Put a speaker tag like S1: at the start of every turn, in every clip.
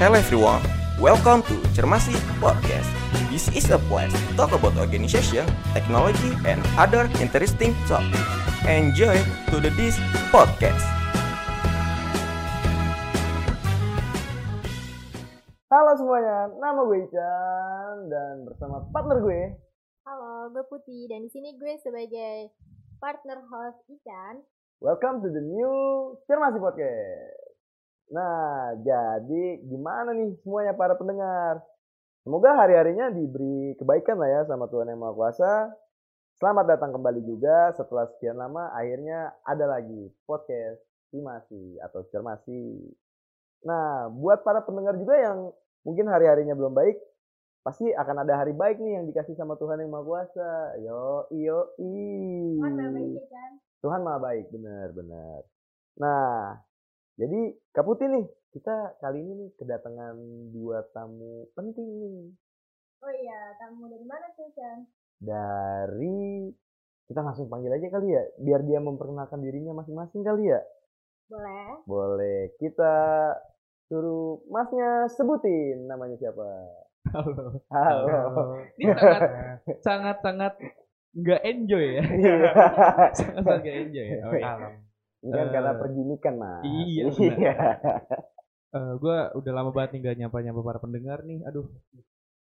S1: Hello everyone, welcome to Cermasi Podcast. This is a place to talk about organization, technology, and other interesting topics. Enjoy to the this podcast.
S2: Halo semuanya, nama gue Ican dan bersama partner gue.
S3: Halo, gue Putih dan di sini gue sebagai partner host Ican.
S2: Welcome to the new Cermasi Podcast. Nah, jadi gimana nih semuanya para pendengar? Semoga hari-harinya diberi kebaikan lah ya sama Tuhan Yang Maha Kuasa. Selamat datang kembali juga setelah sekian lama akhirnya ada lagi podcast Cermasi atau Cermasi. Nah, buat para pendengar juga yang mungkin hari-harinya belum baik, pasti akan ada hari baik nih yang dikasih sama Tuhan Yang Maha Kuasa. Yo, iyo, i. Hmm.
S3: Mana baik Ican?
S2: Tuhan maha baik, benar-benar. Nah, jadi Kak Putih nih, kita kali ini nih kedatangan dua tamu penting nih.
S3: Oh iya, tamu dari mana tuh Ican?
S2: Dari, kita langsung panggil aja kali ya, biar dia memperkenalkan dirinya masing-masing kali ya.
S3: Boleh. Oh,
S2: Boleh, kita suruh masnya sebutin namanya siapa.
S4: Halo.
S2: Halo.
S4: Ini sangat sangat sangat nggak enjoy ya. sangat sangat nggak enjoy ya. Oke.
S2: Iya. Ini kan karena
S4: Eh,
S2: perjinikan, Mas.
S4: iya, benar. Eh, gue udah lama banget nih nggak nyapa nyapa para pendengar nih. Aduh,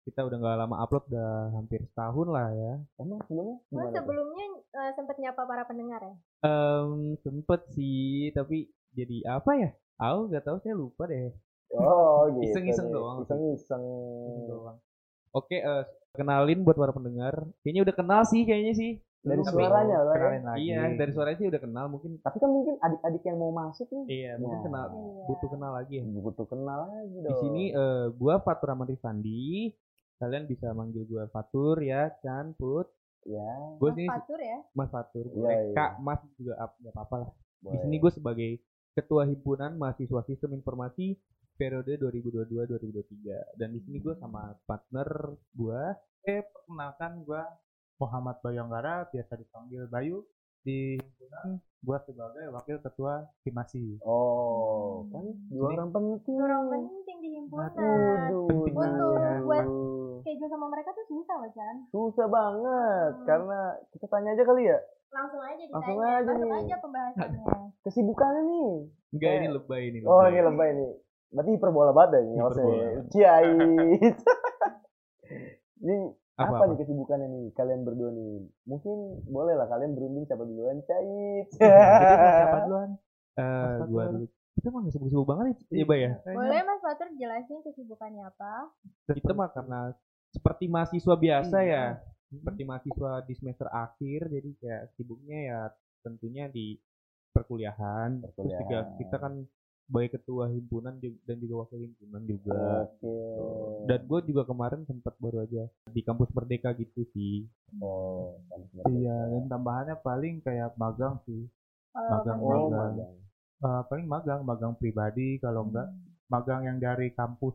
S4: kita udah nggak lama upload, udah hampir setahun lah ya.
S2: Emang sebelumnya
S3: Lo
S2: gimana? tuh? Iya.
S3: sebelumnya eh, sempet nyapa para pendengar ya?
S4: Em, sempet sih, tapi jadi apa ya? Aku nggak tahu, saya lupa deh.
S2: Oh, gitu.
S4: Iseng-iseng
S2: nih.
S4: doang.
S2: Iseng-iseng. Hmm.
S4: Doang. Oke, eh, kenalin buat para pendengar. Kayaknya udah kenal sih, kayaknya sih.
S2: Dari
S4: Tapi-
S2: suaranya lah ya.
S5: Kenalin lagi.
S4: Iya, dari suaranya sih udah kenal. Mungkin
S2: Tapi kan mungkin adik-adik yang mau masuk nih
S4: iya, mungkin
S2: Nah.
S4: kenal.
S3: Iya.
S4: Butuh kenal lagi ya.
S2: butuh kenal lagi dong.
S4: Di sini eh gua Fatur Rahman Rifandi. Kalian bisa manggil gua Fatur ya, Chan, Put.
S2: ya,
S4: Gua sini
S3: Fatur ya?
S4: Mas Fatur.
S2: Iya,
S4: boleh.
S2: iya.
S4: Kak, Mas juga ap- nggak apa-apa lah. Di
S2: boleh.
S4: sini gue sebagai Ketua Himpunan Mahasiswa Sistem Informasi periode 2022-2023. Dan di sini gue sama partner gua
S5: Oke,
S4: eh,
S5: perkenalkan gua Muhammad Bayonggara, biasa dipanggil Bayu. Di himpunan gua sebagai wakil ketua Himasi.
S2: Oh, kan dua
S5: Sini.
S2: orang penting.
S3: Orang penting di himpunan.
S2: Hmm. Aduh,
S5: Penting
S2: aduh,
S3: banget ya.
S2: aduh.
S3: Buat- Schedule sama mereka tuh susah loh Ican.
S2: susah banget
S3: Hmm.
S2: karena kita tanya aja kali ya
S3: Langsung aja ditanya.
S2: Langsung aja
S3: Masuk
S2: nih.
S3: aja pembahasannya.
S2: kesibukannya nih.
S4: Enggak,
S2: Eh.
S4: ini lebay ini.
S2: Oh
S4: lebay.
S2: ini lebay nih. Berarti hiperbola banget ya ini harusnya.
S4: Hiperbola.
S2: Ciai. Ini apa,
S4: Apa,
S2: nih kesibukannya nih kalian berdua nih? Mungkin boleh lah kalian berunding siapa duluan Cai.
S4: Jadi mau siapa duluan? Eh,
S5: Fatur.
S4: gua dulu. Kita mah nggak sibuk-sibuk banget ya, Bay
S5: Iya,
S4: ya?
S3: Boleh Mas Fatur jelasin kesibukannya apa?
S4: kita mah karena seperti mahasiswa biasa
S5: Iya.
S4: ya
S5: Mm-hmm.
S4: seperti mahasiswa di semester akhir jadi kayak sibuknya ya tentunya di perkuliahan, terus
S2: Perkuliahan.
S4: juga kita kan sebagai ketua himpunan ju- dan juga wakil himpunan juga
S2: Oke.
S4: dan gue juga kemarin sempat baru aja di kampus merdeka gitu sih
S2: Oh, kan
S5: Iya, dan tambahannya paling kayak magang sih.
S3: Kalau
S5: Magang.
S3: Mas
S2: Oh,
S3: Fatur.
S2: magang.
S5: Eh, paling magang, magang pribadi kalau enggak
S4: Hmm.
S5: magang yang dari kampus.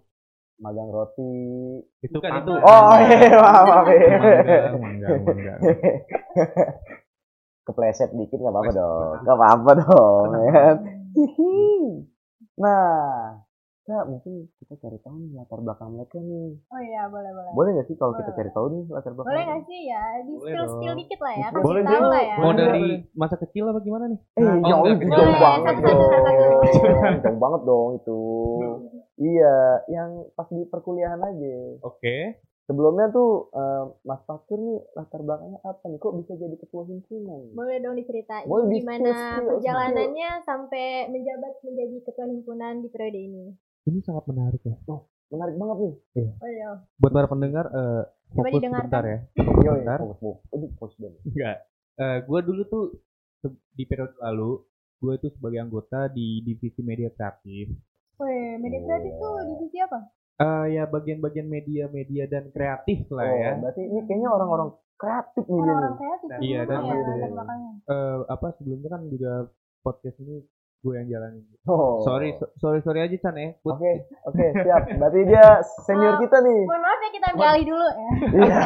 S2: Magang roti.
S5: Itu
S4: Bukan,
S5: kan
S4: itu.
S2: Oh, iya, maaf, maaf.
S5: Magang, magang, magang.
S2: Kepleset dikit nggak apa-apa
S5: Kepleset.
S2: dong. Nggak apa-apa dong. ya kan? Hihi. Nah, Kak, mungkin kita cari tahu nih latar belakang mereka nih.
S3: Oh iya, boleh-boleh.
S2: Boleh nggak sih kalau kita
S3: Boleh.
S2: cari tahu nih latar belakang?
S3: Boleh
S2: mereka?
S3: nggak sih ya? Di
S4: Boleh
S3: spill spill
S4: dong.
S3: dikit lah ya. Kasih
S2: Boleh
S3: tahu
S2: dong.
S3: lah ya.
S4: mau
S2: Boleh.
S4: dari masa kecil apa gimana nih
S2: Eh,
S4: Oh,
S2: jauh,
S4: enggak.
S2: jauh
S3: Boleh,
S2: banget
S3: satu,
S2: dong.
S3: satu, satu.
S2: Jauh banget dong itu. Iya, yang pas di perkuliahan aja.
S4: oke
S2: Sebelumnya tuh eh, Mas Fatur nih latar belakangnya apa nih? Kok bisa jadi ketua himpunan?
S3: Boleh dong diceritain
S2: Boleh di
S3: gimana
S2: spill-spill,
S3: perjalanannya sampai menjabat menjadi ketua himpunan di periode ini.
S4: ini sangat menarik ya
S2: Menarik banget nih.
S3: Oh iya.
S4: buat para pendengar eh,
S3: Coba
S4: fokus
S3: didengarkan.
S4: bentar ya
S2: Yo,
S4: Bentar.
S2: fokus, fokus. Aduh, fokus banget.
S4: Enggak. Eh gue dulu tuh se- di periode lalu gue itu sebagai anggota di divisi media kreatif.
S3: Weh,
S2: Oh.
S3: media kreatif tuh divisi apa?
S4: Eh ya bagian-bagian media-media dan kreatif lah
S2: Oh,
S4: ya.
S2: berarti ini kayaknya orang-orang kreatif nih dia nih.
S3: Orang-orang kreatif.
S4: Iya,
S3: semua
S4: dan-
S3: ya,
S2: iya.
S3: latar belakangnya.
S4: Eh apa sebelumnya kan juga podcast ini gue yang jalanin.
S2: Oh.
S4: Sorry so- sorry sorry aja Chan ya.
S2: Oke,
S4: Buat
S2: oke, siap. Berarti dia senior kita nih.
S3: Mohon maaf ya kita ambil alih dulu ya.
S2: Iya.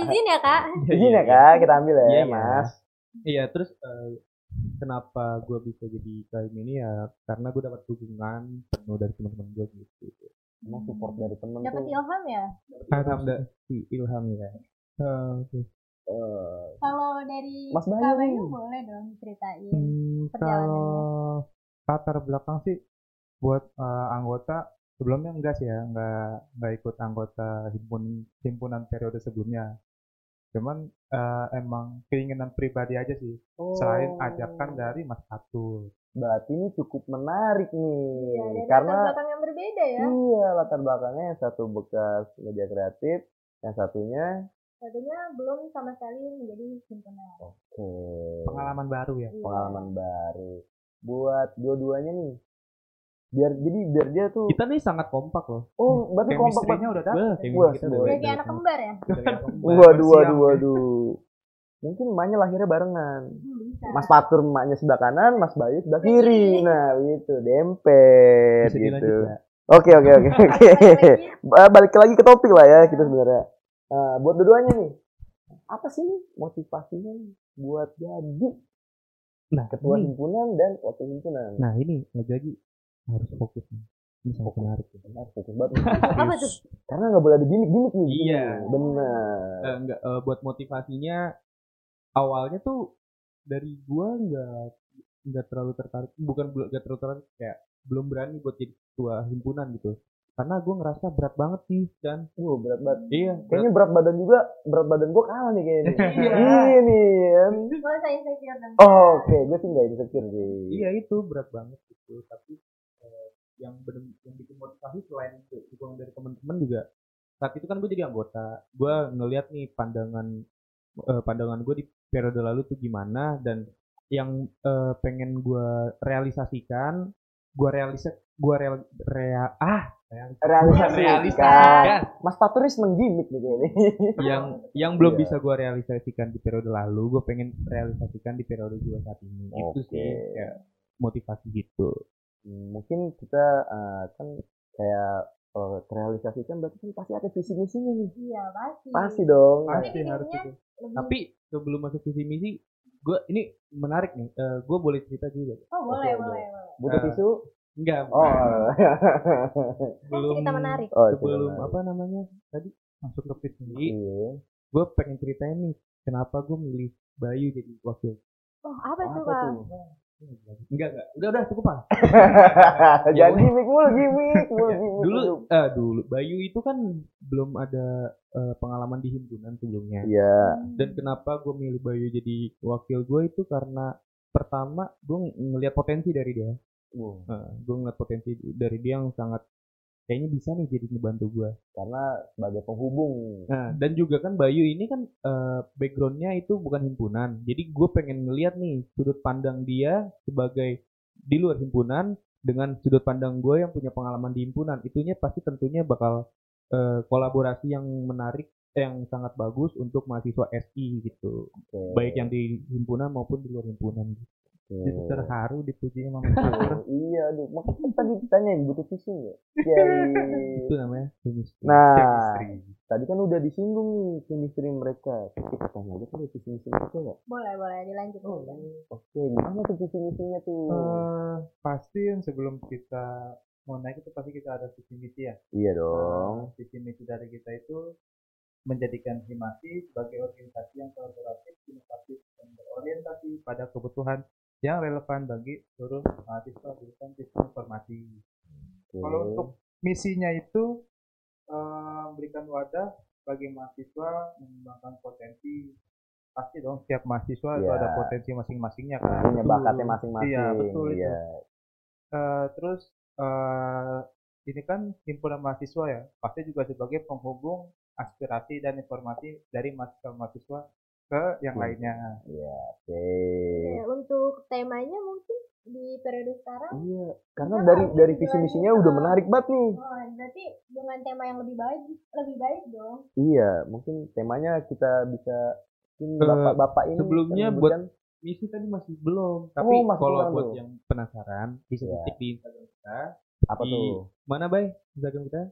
S3: Izin ya kak.
S2: Izin ya, Kak, kita ambil ya,
S4: Iya, iya.
S2: Mas.
S4: Iya, terus eh, kenapa gue bisa jadi KM ini ya karena gue dapat dukungan penuh dari teman-teman gue gitu.
S2: emang support dari temen
S3: Dapat
S2: tuh
S3: ilham ya?
S4: Alhamdulillah si Ilham ya.
S5: Oh,
S2: eh,
S3: Kalau dari
S2: Mas Bayu
S3: Kak
S2: nih.
S3: boleh dong ceritain.
S5: Hmm, kalau latar belakang sih buat eh, anggota sebelumnya enggak sih ya, enggak enggak ikut anggota himpunan himpunan periode sebelumnya. Cuman eh, emang keinginan pribadi aja sih, selain ajakan dari Mas Atul.
S2: oh. berarti ini cukup menarik nih
S3: Iya, dari
S2: karena
S3: latar belakang yang berbeda ya.
S2: iya latar belakangnya yang satu bekas media kreatif yang satunya
S3: Satunya belum sama sekali menjadi himpunan.
S2: ke
S5: Pengalaman baru ya.
S3: Iya.
S2: pengalaman baru buat dua-duanya nih biar jadi biar dia tuh
S4: Kita nih sangat kompak loh.
S2: oh berarti kompak banget
S5: Chemistry-nya udah dapat.
S4: Wah,
S2: Wah,
S4: kita
S2: sebuah-
S3: Udah
S4: dari
S3: kayak anak kembar ya?
S2: waduh waduh waduh mungkin emaknya lahirnya barengan
S3: Hmm, bisa.
S2: Mas Fatur emaknya sebelah kanan, Mas Bayu sebelah
S5: Iya.
S2: kiri. Nah, gitu, dempet
S4: Bisa dilanjut
S2: gitu.
S4: ya.
S2: Oke, oke, oke, oke.
S3: Balik lagi,
S2: Ba- Balik lagi ke topik lah ya kita sebenarnya. Eh, buat dua-duanya nih. Apa sih motivasinya nih buat jadi
S4: Nah,
S2: ketua
S4: ini-
S2: himpunan dan wakil himpunan?
S4: Nah, ini lagi-lagi harus fokus nih. Ini sangat menarik.
S2: Benar, fokus banget.
S3: Apa tuh?
S2: Karena nggak boleh ada gimmick-gimmick nih.
S4: Iya.
S2: Benar.
S4: Eh, enggak eh, buat motivasinya awalnya tuh dari gua enggak enggak terlalu tertarik bukan bel- enggak terlalu tertarik kayak belum berani buat jadi ketua himpunan gitu karena gua ngerasa berat banget sih dan
S2: Wow, berat banget.
S4: iya
S2: Kayaknya berat badan juga, berat badan gue kalah nih kayaknya.
S4: Iya.
S2: Iya nih. kan.
S3: Gak usah insecure dong.
S2: Oke, gue sih nggak insecure sih.
S4: iya itu berat banget gitu tapi eh, yang bener yang bikin motivasi selain itu dukungan dari teman-teman juga saat itu kan gue jadi anggota gue ngeliat nih pandangan eh, pandangan gue di periode lalu tuh gimana dan yang eh, pengen gue realisasikan gue realisa gue real rea- ah
S2: realisasi
S3: Realisasikan.
S2: kan. Mas Paturis menggimik gitu ini.
S4: yang yang belum
S2: Iya.
S4: bisa gue realisasikan di periode lalu gue pengen realisasikan di periode gue saat ini itu
S2: Oke.
S4: sih kayak motivasi gitu
S2: Hmm, Mungkin kita eh, kan kayak eh, terrealisasikan berarti kan pasti ada visi misinya nih.
S3: Iya, pasti.
S2: Pasti dong. Nah,
S4: pasti harus
S3: jadinya
S4: itu
S3: Lebih-
S4: Tapi sebelum masuk visi misi, gue ini menarik nih. gue boleh cerita juga?
S3: Oh, boleh,
S2: Oke,
S3: boleh, boleh.
S2: butuh
S4: Eh,
S2: tisu.
S4: Enggak.
S2: Oh.
S3: Kan cerita menarik.
S2: oh,
S4: Sebelum
S2: cerita.
S4: apa namanya tadi masuk ke visi misi,
S2: Iya.
S4: gue pengen ceritain nih kenapa gue milih Bayu jadi wakil.
S3: Oh, apa
S2: Apa
S3: tuh, Bang?
S2: tuh?
S4: Enggak enggak. Udah udah cukup pak.
S2: Jangan gimmick mulu, gimmick mulu, gimmick
S4: Dulu
S2: mulu.
S4: eh dulu Bayu itu kan belum ada eh, pengalaman di himpunan sebelumnya.
S2: Iya.
S3: Hmm,
S4: dan kenapa gue milih Bayu jadi wakil gue itu karena pertama gue ngelihat potensi dari dia
S2: Wow.
S4: gue Eh, ngeliat potensi dari dia yang sangat kayaknya bisa nih jadi ngebantu gue
S2: Karena sebagai penghubung.
S4: nah dan juga kan Bayu ini kan eh, backgroundnya itu bukan himpunan jadi gue pengen ngeliat nih sudut pandang dia sebagai di luar himpunan dengan sudut pandang gue yang punya pengalaman di himpunan itunya pasti tentunya bakal eh, kolaborasi yang menarik eh, yang sangat bagus untuk mahasiswa SI gitu
S2: Oke.
S4: baik yang di himpunan maupun di luar himpunan.
S2: Oke.
S5: Jadi terharu dipuji sama
S2: Oh, Iya, aduh. Makanya tadi ditanyain butuh tisu nggak? Iya.
S4: Itu namanya chemistry.
S2: Nah,
S5: istri.
S2: tadi kan udah disinggung nih chemistry mereka. Kita tanya aja kan visi misi mereka ya.
S3: Boleh, boleh. Dilanjut.
S2: Oh,
S4: Oh,
S2: Oke, gimana tuh visi misinya tuh?
S5: Eh, pasti yang sebelum kita mau naik itu pasti kita ada visi misi ya.
S2: iya
S5: Eh,
S2: dong.
S5: Visi misi dari kita itu menjadikan Himasi sebagai organisasi yang kolaboratif, inovatif, dan berorientasi pada kebutuhan yang relevan bagi seluruh mahasiswa jurusan sistem informasi.
S2: Oke.
S5: Kalau untuk misinya itu eh, memberikan wadah bagi mahasiswa mengembangkan potensi. Pasti dong setiap mahasiswa itu
S2: Iya.
S5: ada potensi masing-masingnya kan.
S2: punya bakatnya
S5: Betul.
S2: masing-masing.
S5: Iya, betul itu.
S2: Iya.
S5: Eh, terus eh, ini kan himpunan mahasiswa ya, pasti juga sebagai penghubung aspirasi dan informasi dari mahasiswa-mahasiswa ke yang
S2: Hmm.
S5: lainnya.
S2: Iya, oke.
S3: Ya, untuk temanya mungkin di periode sekarang,
S2: Iya, karena
S3: Iya,
S2: dari dari
S3: tujuannya
S2: visi misinya
S3: itu.
S2: udah menarik banget nih.
S3: oh, berarti dengan tema yang lebih baik, lebih baik dong.
S2: Iya, mungkin temanya kita bisa mungkin
S4: Eh,
S2: bapak-bapak ini
S4: sebelumnya
S2: kan
S4: buat-
S2: memberikan-
S4: Misi tadi masih belum, tapi
S2: Oh, masih
S4: kalau
S2: belum.
S4: buat yang penasaran bisa
S2: Iya.
S4: ketik di Instagram kita.
S2: apa
S4: di-
S2: tuh?
S4: Mana, Bay? Instagram kita?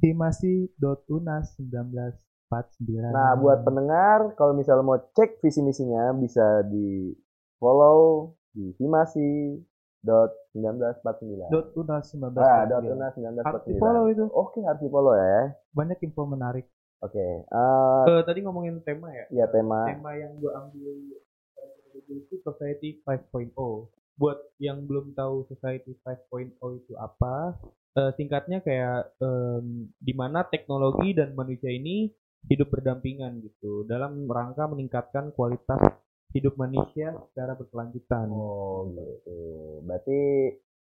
S5: Himasi.unas1949.
S2: Nah, buat pendengar, kalau misalnya mau cek visi misinya bisa di follow di Himasi dot 1949
S5: dot unas 19
S2: ah dot unas 1949
S5: harus di follow itu
S2: oke harus di follow ya
S5: banyak info menarik
S2: oke eh,
S4: Eh, tadi ngomongin tema ya
S2: ya tema
S4: tema yang gue ambil eh, itu Society 5.0. Buat yang belum tahu Society 5.0 itu apa, eh, singkatnya kayak em, di mana teknologi dan manusia ini hidup berdampingan gitu dalam rangka meningkatkan kualitas hidup manusia secara berkelanjutan.
S2: oh gitu berarti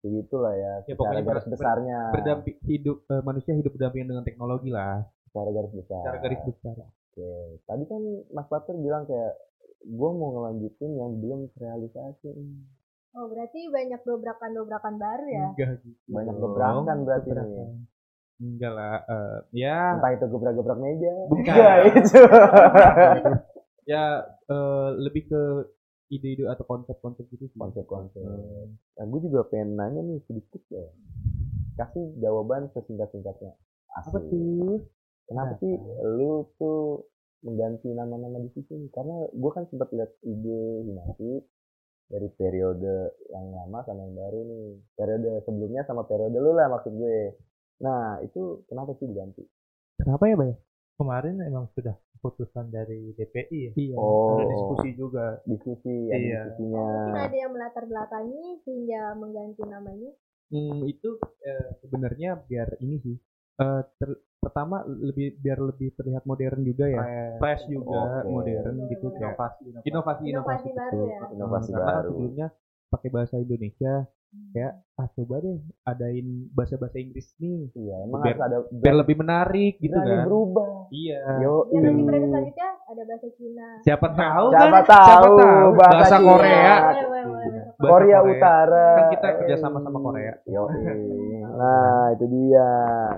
S2: begitulah ya
S4: Ya,
S2: secara
S4: pokoknya
S2: garis
S4: ber-
S2: besarnya
S4: Berdampi hidup eh, manusia hidup berdampingan dengan teknologi lah,
S2: secara garis besar
S4: secara garis besar.
S2: Oke, tadi kan Mas Pater bilang kayak gue mau ngelanjutin yang belum terrealisasi.
S3: Oh berarti banyak dobrakan-dobrakan baru
S2: Nah.
S3: ya?
S4: Enggak gitu.
S2: Banyak
S4: dong.
S2: gebrakan berarti nih.
S4: Gebrakan. Enggak lah, eh, ya
S2: Entah itu gebrak-gebrak meja.
S4: bukan.
S2: Ya itu.
S4: ya eh, lebih ke ide-ide atau konsep-konsep gitu sih.
S2: Konsep-konsep.
S4: Hmm.
S2: Nah, gue juga pengen nanya nih sedikit ya. Kasih jawaban sesingkat-singkatnya.
S4: Apa
S2: Asik.
S4: sih? Nah,
S2: Kenapa sih lu tuh mengganti nama-nama di sini? Karena gue kan sempat lihat ide Hinati dari periode yang lama sama yang baru nih. Periode sebelumnya sama periode lu lah maksud gue. Nah, itu kenapa sih diganti?
S5: kenapa ya Bay? kemarin emang sudah keputusan dari DPI ya
S4: Iya.
S2: Oh,
S5: ada diskusi juga
S2: diskusi, ada
S5: Iya.
S2: diskusinya.
S3: Mungkin ada yang melatar belakangi sehingga mengganti namanya.
S4: Hmm, itu eh, sebenarnya biar ini sih. Eh, ter- pertama lebih biar lebih terlihat modern juga ya. Fresh juga,
S2: Oke.
S4: modern gitu kayak
S5: inovasi
S2: Iya,
S3: Inovasi
S4: inovasi-inovasi
S3: baru
S4: gitu.
S3: ya.
S2: Inovasi
S4: Karena kan
S2: baru.
S4: sebelumnya pakai bahasa Indonesia kayak ah coba deh adain bahasa-bahasa Inggris nih
S2: Iya, emang
S4: Biar-
S2: harus ada
S4: biar lebih menarik gitu
S2: berani
S4: kan.
S2: berubah.
S4: Iya.
S2: Yo,
S3: Dan nanti periode selanjutnya ada bahasa Cina.
S4: Siapa tahu kan?
S2: Siapa tahu bahasa
S4: bahasa
S2: Cina.
S3: Boleh,
S4: Korea.
S3: Iya, boleh,
S2: Iya.
S3: boleh.
S4: Bahasa
S2: Korea Utara.
S4: Kan kita kerjasama sama Korea.
S2: Yo, nah itu dia.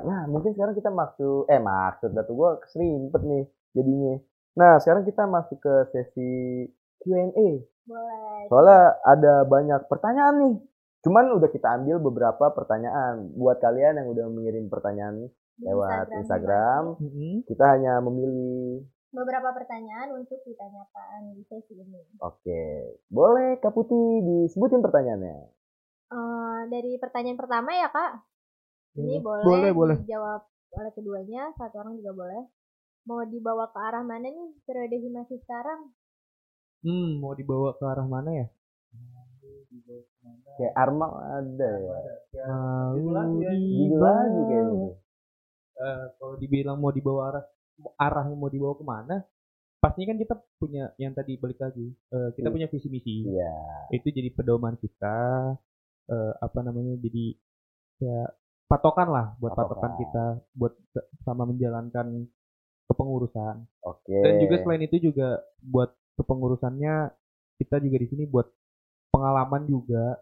S2: Nah mungkin sekarang kita maksud, eh maksud datu gue keserimpet nih jadinya. Nah sekarang kita masuk ke sesi Q&A.
S3: Boleh.
S2: Soalnya ada banyak pertanyaan nih. Cuman udah kita ambil beberapa pertanyaan buat kalian yang udah mengirim pertanyaan
S3: Di
S2: lewat Instagram.
S3: Mm-hmm.
S4: Mm-mm.
S2: Kita hanya memilih.
S3: Beberapa pertanyaan untuk ditanyakan di sesi ini.
S2: Oke, boleh Kak Putih disebutin pertanyaannya.
S3: Eh, dari pertanyaan pertama ya kak
S2: Iya.
S3: ini boleh,
S5: Boleh, boleh.
S3: dijawab oleh keduanya satu orang juga boleh mau dibawa ke arah mana nih periode himasi sekarang
S4: Hmm, mau dibawa ke arah mana ya?
S2: Kayak Arma ada ya.
S4: Mau
S5: lagi ya.
S2: Gitu lagi kayaknya.
S4: dibawa- Eh, kalau dibilang mau dibawa arah arahnya mau dibawa kemana? Pastinya kan kita punya yang tadi balik lagi. eh, kita
S2: Hmm.
S4: punya visi misi.
S2: Iya.
S4: Itu jadi pedoman kita. eh, apa namanya? Jadi ya patokan lah buat patokan,
S2: Patokan.
S4: kita buat se- sama menjalankan kepengurusan.
S2: Oke.
S4: Dan juga selain itu juga buat kepengurusannya kita juga di sini buat pengalaman juga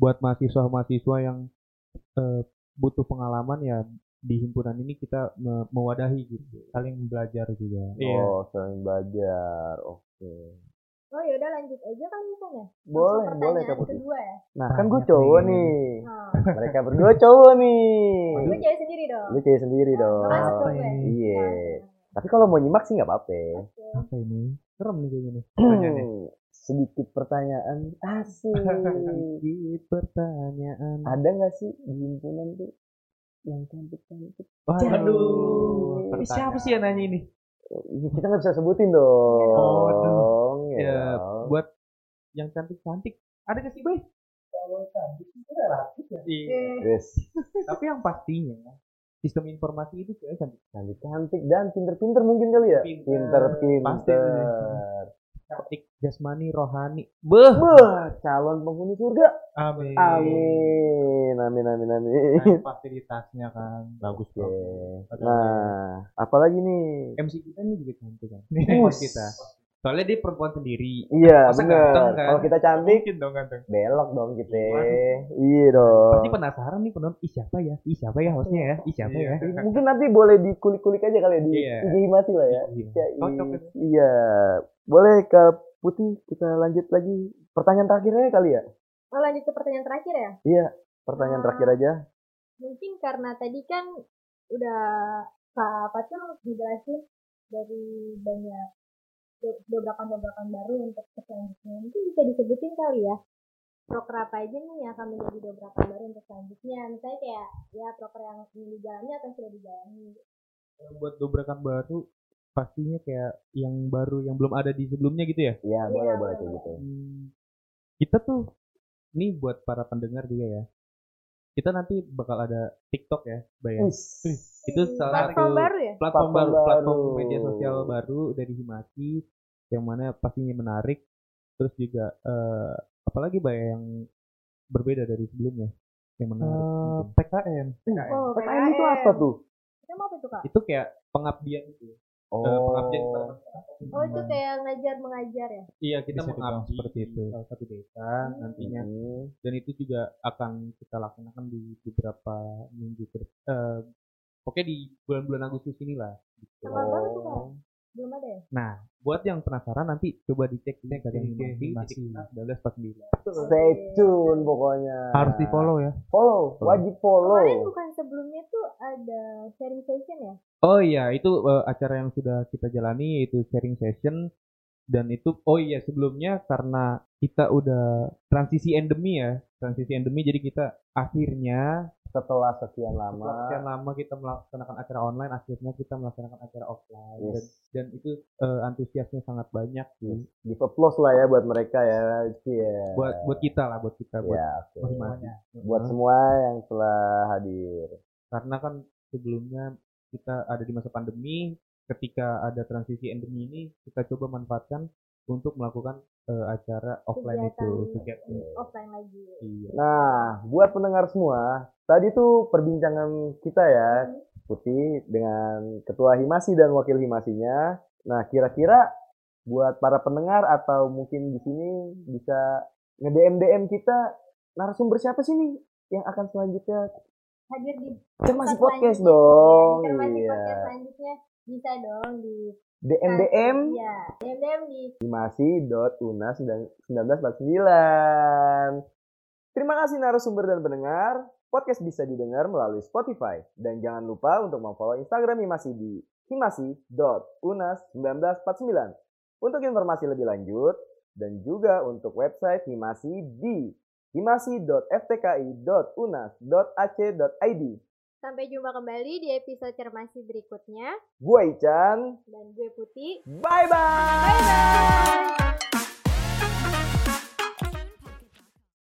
S4: buat mahasiswa-mahasiswa yang eh, butuh pengalaman ya di himpunan ini kita me- mewadahi gitu.
S5: saling belajar juga
S4: Iya.
S2: Oh, selain belajar. Oke.
S3: oh yaudah lanjut aja kan misalnya
S2: Boleh,
S3: Langsung
S2: boleh Kak
S3: pertanyaan
S2: Putih.
S3: kedua ya
S2: Nah, kan gue
S4: Iya,
S5: Banyak
S2: cowok
S5: nih.
S2: nih.
S3: oh,
S2: Mereka berdua cowok nih.
S3: gue cewek sendiri dong
S2: Lu cewek sendiri dong.
S3: Masuk
S5: apa
S3: dong, gue.
S5: ini
S2: Iya. Tapi kalau mau nyimak sih nggak apa-apa.
S5: apa ini serem nih kayaknya nih
S4: Oh, iya,
S5: pertanyaannya.
S2: Hmm, sedikit pertanyaan asik.
S4: Sedikit pertanyaan.
S2: ada nggak sih di himpunan tuh yang cantik cantik?
S4: Waduh.
S2: Ini
S4: Siapa sih yang nanya ini?
S2: Oh, iya, Kita nggak bisa sebutin dong.
S4: Waduh.
S2: ya.
S4: Ya, buat yang cantik-cantik ada gak sih, Bay? Iya.
S2: Yes.
S4: Tapi yang pastinya sistem informasi itu cewek cantik.
S2: Cantik cantik dan pinter pinter mungkin kali ya.
S4: Pinter.
S2: Pinter
S4: Pasti.
S2: pinter.
S4: cantik jasmani rohani beh
S2: Beuh, calon penghuni surga.
S4: amin
S2: Amin, amin, amin, amin.
S4: Nah, fasilitasnya kan bagus
S2: Oke.
S4: bro
S2: Nah, apalagi nih?
S4: MC kita nih juga cantik
S2: Us.
S4: kan Bos kita soalnya dia perempuan sendiri
S2: Iya,
S4: Masa
S2: bener.
S4: ganteng, kan?
S2: Kalau kita cantik,
S4: mungkin dong ganteng
S2: belok dong kita.
S4: Waduh.
S2: Iya dong.
S4: pasti penasaran nih penonton ih siapa ya ih siapa ya hostnya ya ih siapa ya
S2: Iya. Mungkin nanti boleh dikulik-kulik aja kali ya di
S4: Iya.
S2: IG Himati lah ya. Ya, i-
S4: Cocok itu.
S2: Iya. Boleh ke Putih kita lanjut lagi pertanyaan terakhirnya kali ya?
S3: oh lanjut ke pertanyaan terakhir ya
S2: Pertanyaan
S3: Ah.
S2: terakhir aja.
S3: mungkin karena tadi kan udah Kak Fatul dijelasin dari banyak do- dobrakan-dobrakan baru untuk selanjutnya mungkin bisa disebutin kali ya proker apa aja nih yang akan menjadi dobrakan baru untuk selanjutnya misalnya kayak ya proker yang ingin dijalani atau sudah dijalani
S4: Kalau buat dobrakan baru pastinya kayak yang baru yang belum ada di sebelumnya gitu ya
S2: Iya,
S3: Iya,
S2: boleh boleh
S3: boleh,
S2: kayak gitu.
S4: kita tuh ini buat para pendengar juga ya kita nanti bakal ada TikTok ya Bayang
S2: Wis.
S4: itu salah
S3: platform
S4: satu
S3: baru ya
S4: platform
S2: Platform
S4: baru, platform
S2: baru.
S4: media sosial baru dari Himaki yang mana pastinya menarik terus juga eh, apalagi banyak yang berbeda dari sebelumnya yang menarik
S5: Eh,
S4: mungkin.
S5: PKN.
S3: oh
S2: PKN itu apa tuh?
S3: itu mau apa tuh kak
S4: itu kayak pengabdian gitu
S2: Oh.
S4: Eh, pengabdian kepada masyarakat.
S3: oh itu kayak ngajar mengajar ya
S4: iya kita
S5: Bisa dibilang
S4: mengabdi
S5: seperti itu.
S4: di salah satu desa nantinya
S2: Hmm.
S4: dan itu juga akan kita laksanakan di beberapa minggu ke dep- eh, pokoknya di bulan-bulan Agustus inilah gitu.
S3: Tanggal berapa tuh kak belum ada ya
S4: Nah, buat yang penasaran nanti coba dicek di
S5: Cek di IG Himaki.
S4: 1949.
S2: Oh. Stay tune pokoknya.
S5: Harus di follow ya.
S2: Follow, wajib
S4: Oh.
S2: follow.
S3: kemarin bukan sebelumnya tuh ada sharing session ya
S4: Oh iya, itu eh, acara yang sudah kita jalani yaitu sharing session dan itu oh iya sebelumnya karena kita udah transisi endemi ya, transisi endemi jadi kita akhirnya
S2: Setelah sekian
S4: setelah
S2: lama.
S4: sekian lama kita melaksanakan acara online akhirnya kita melaksanakan acara offline
S2: Yes.
S4: dan, dan itu eh, antusiasnya sangat banyak sih.
S2: Di applause lah ya buat mereka ya. Iya.
S4: buat buat kita lah buat kita buat
S2: Ya, oke.
S4: masing-masing.
S2: Buat
S4: Nah,
S2: semua yang telah hadir.
S4: karena kan sebelumnya kita ada di masa pandemi ketika ada transisi endemi ini kita coba manfaatkan untuk melakukan eh, acara
S3: Kegiatan.
S4: offline itu kegiatan
S3: offline lagi
S4: Iya.
S2: Nah, buat pendengar semua, tadi tuh perbincangan kita ya, Putih dengan Ketua Himasi dan Wakil Himasinya. Nah, kira-kira buat para pendengar atau mungkin di sini bisa nge-DM DM kita narasumber siapa sih nih yang akan selanjutnya
S3: hadir di
S2: Cermasi
S3: Podcast
S2: Podcast
S3: selanjutnya.
S2: dong.
S3: Di Cermati podcast
S2: Iya.
S3: selanjutnya bisa dong di
S2: DM DM
S3: Iya, DM di
S2: himasi.unas1949. Terima kasih narasumber dan pendengar. Podcast bisa didengar melalui Spotify. Dan jangan lupa untuk memfollow Instagram Himasi di himasi.unas1949. Untuk informasi lebih lanjut, dan juga untuk website Himasi di himasi.ftki.unas.ac.id.
S3: Sampai jumpa kembali di episode cermasi berikutnya
S2: Gue Ican,
S3: dan gue Putih.
S2: bye-bye!
S3: Bye.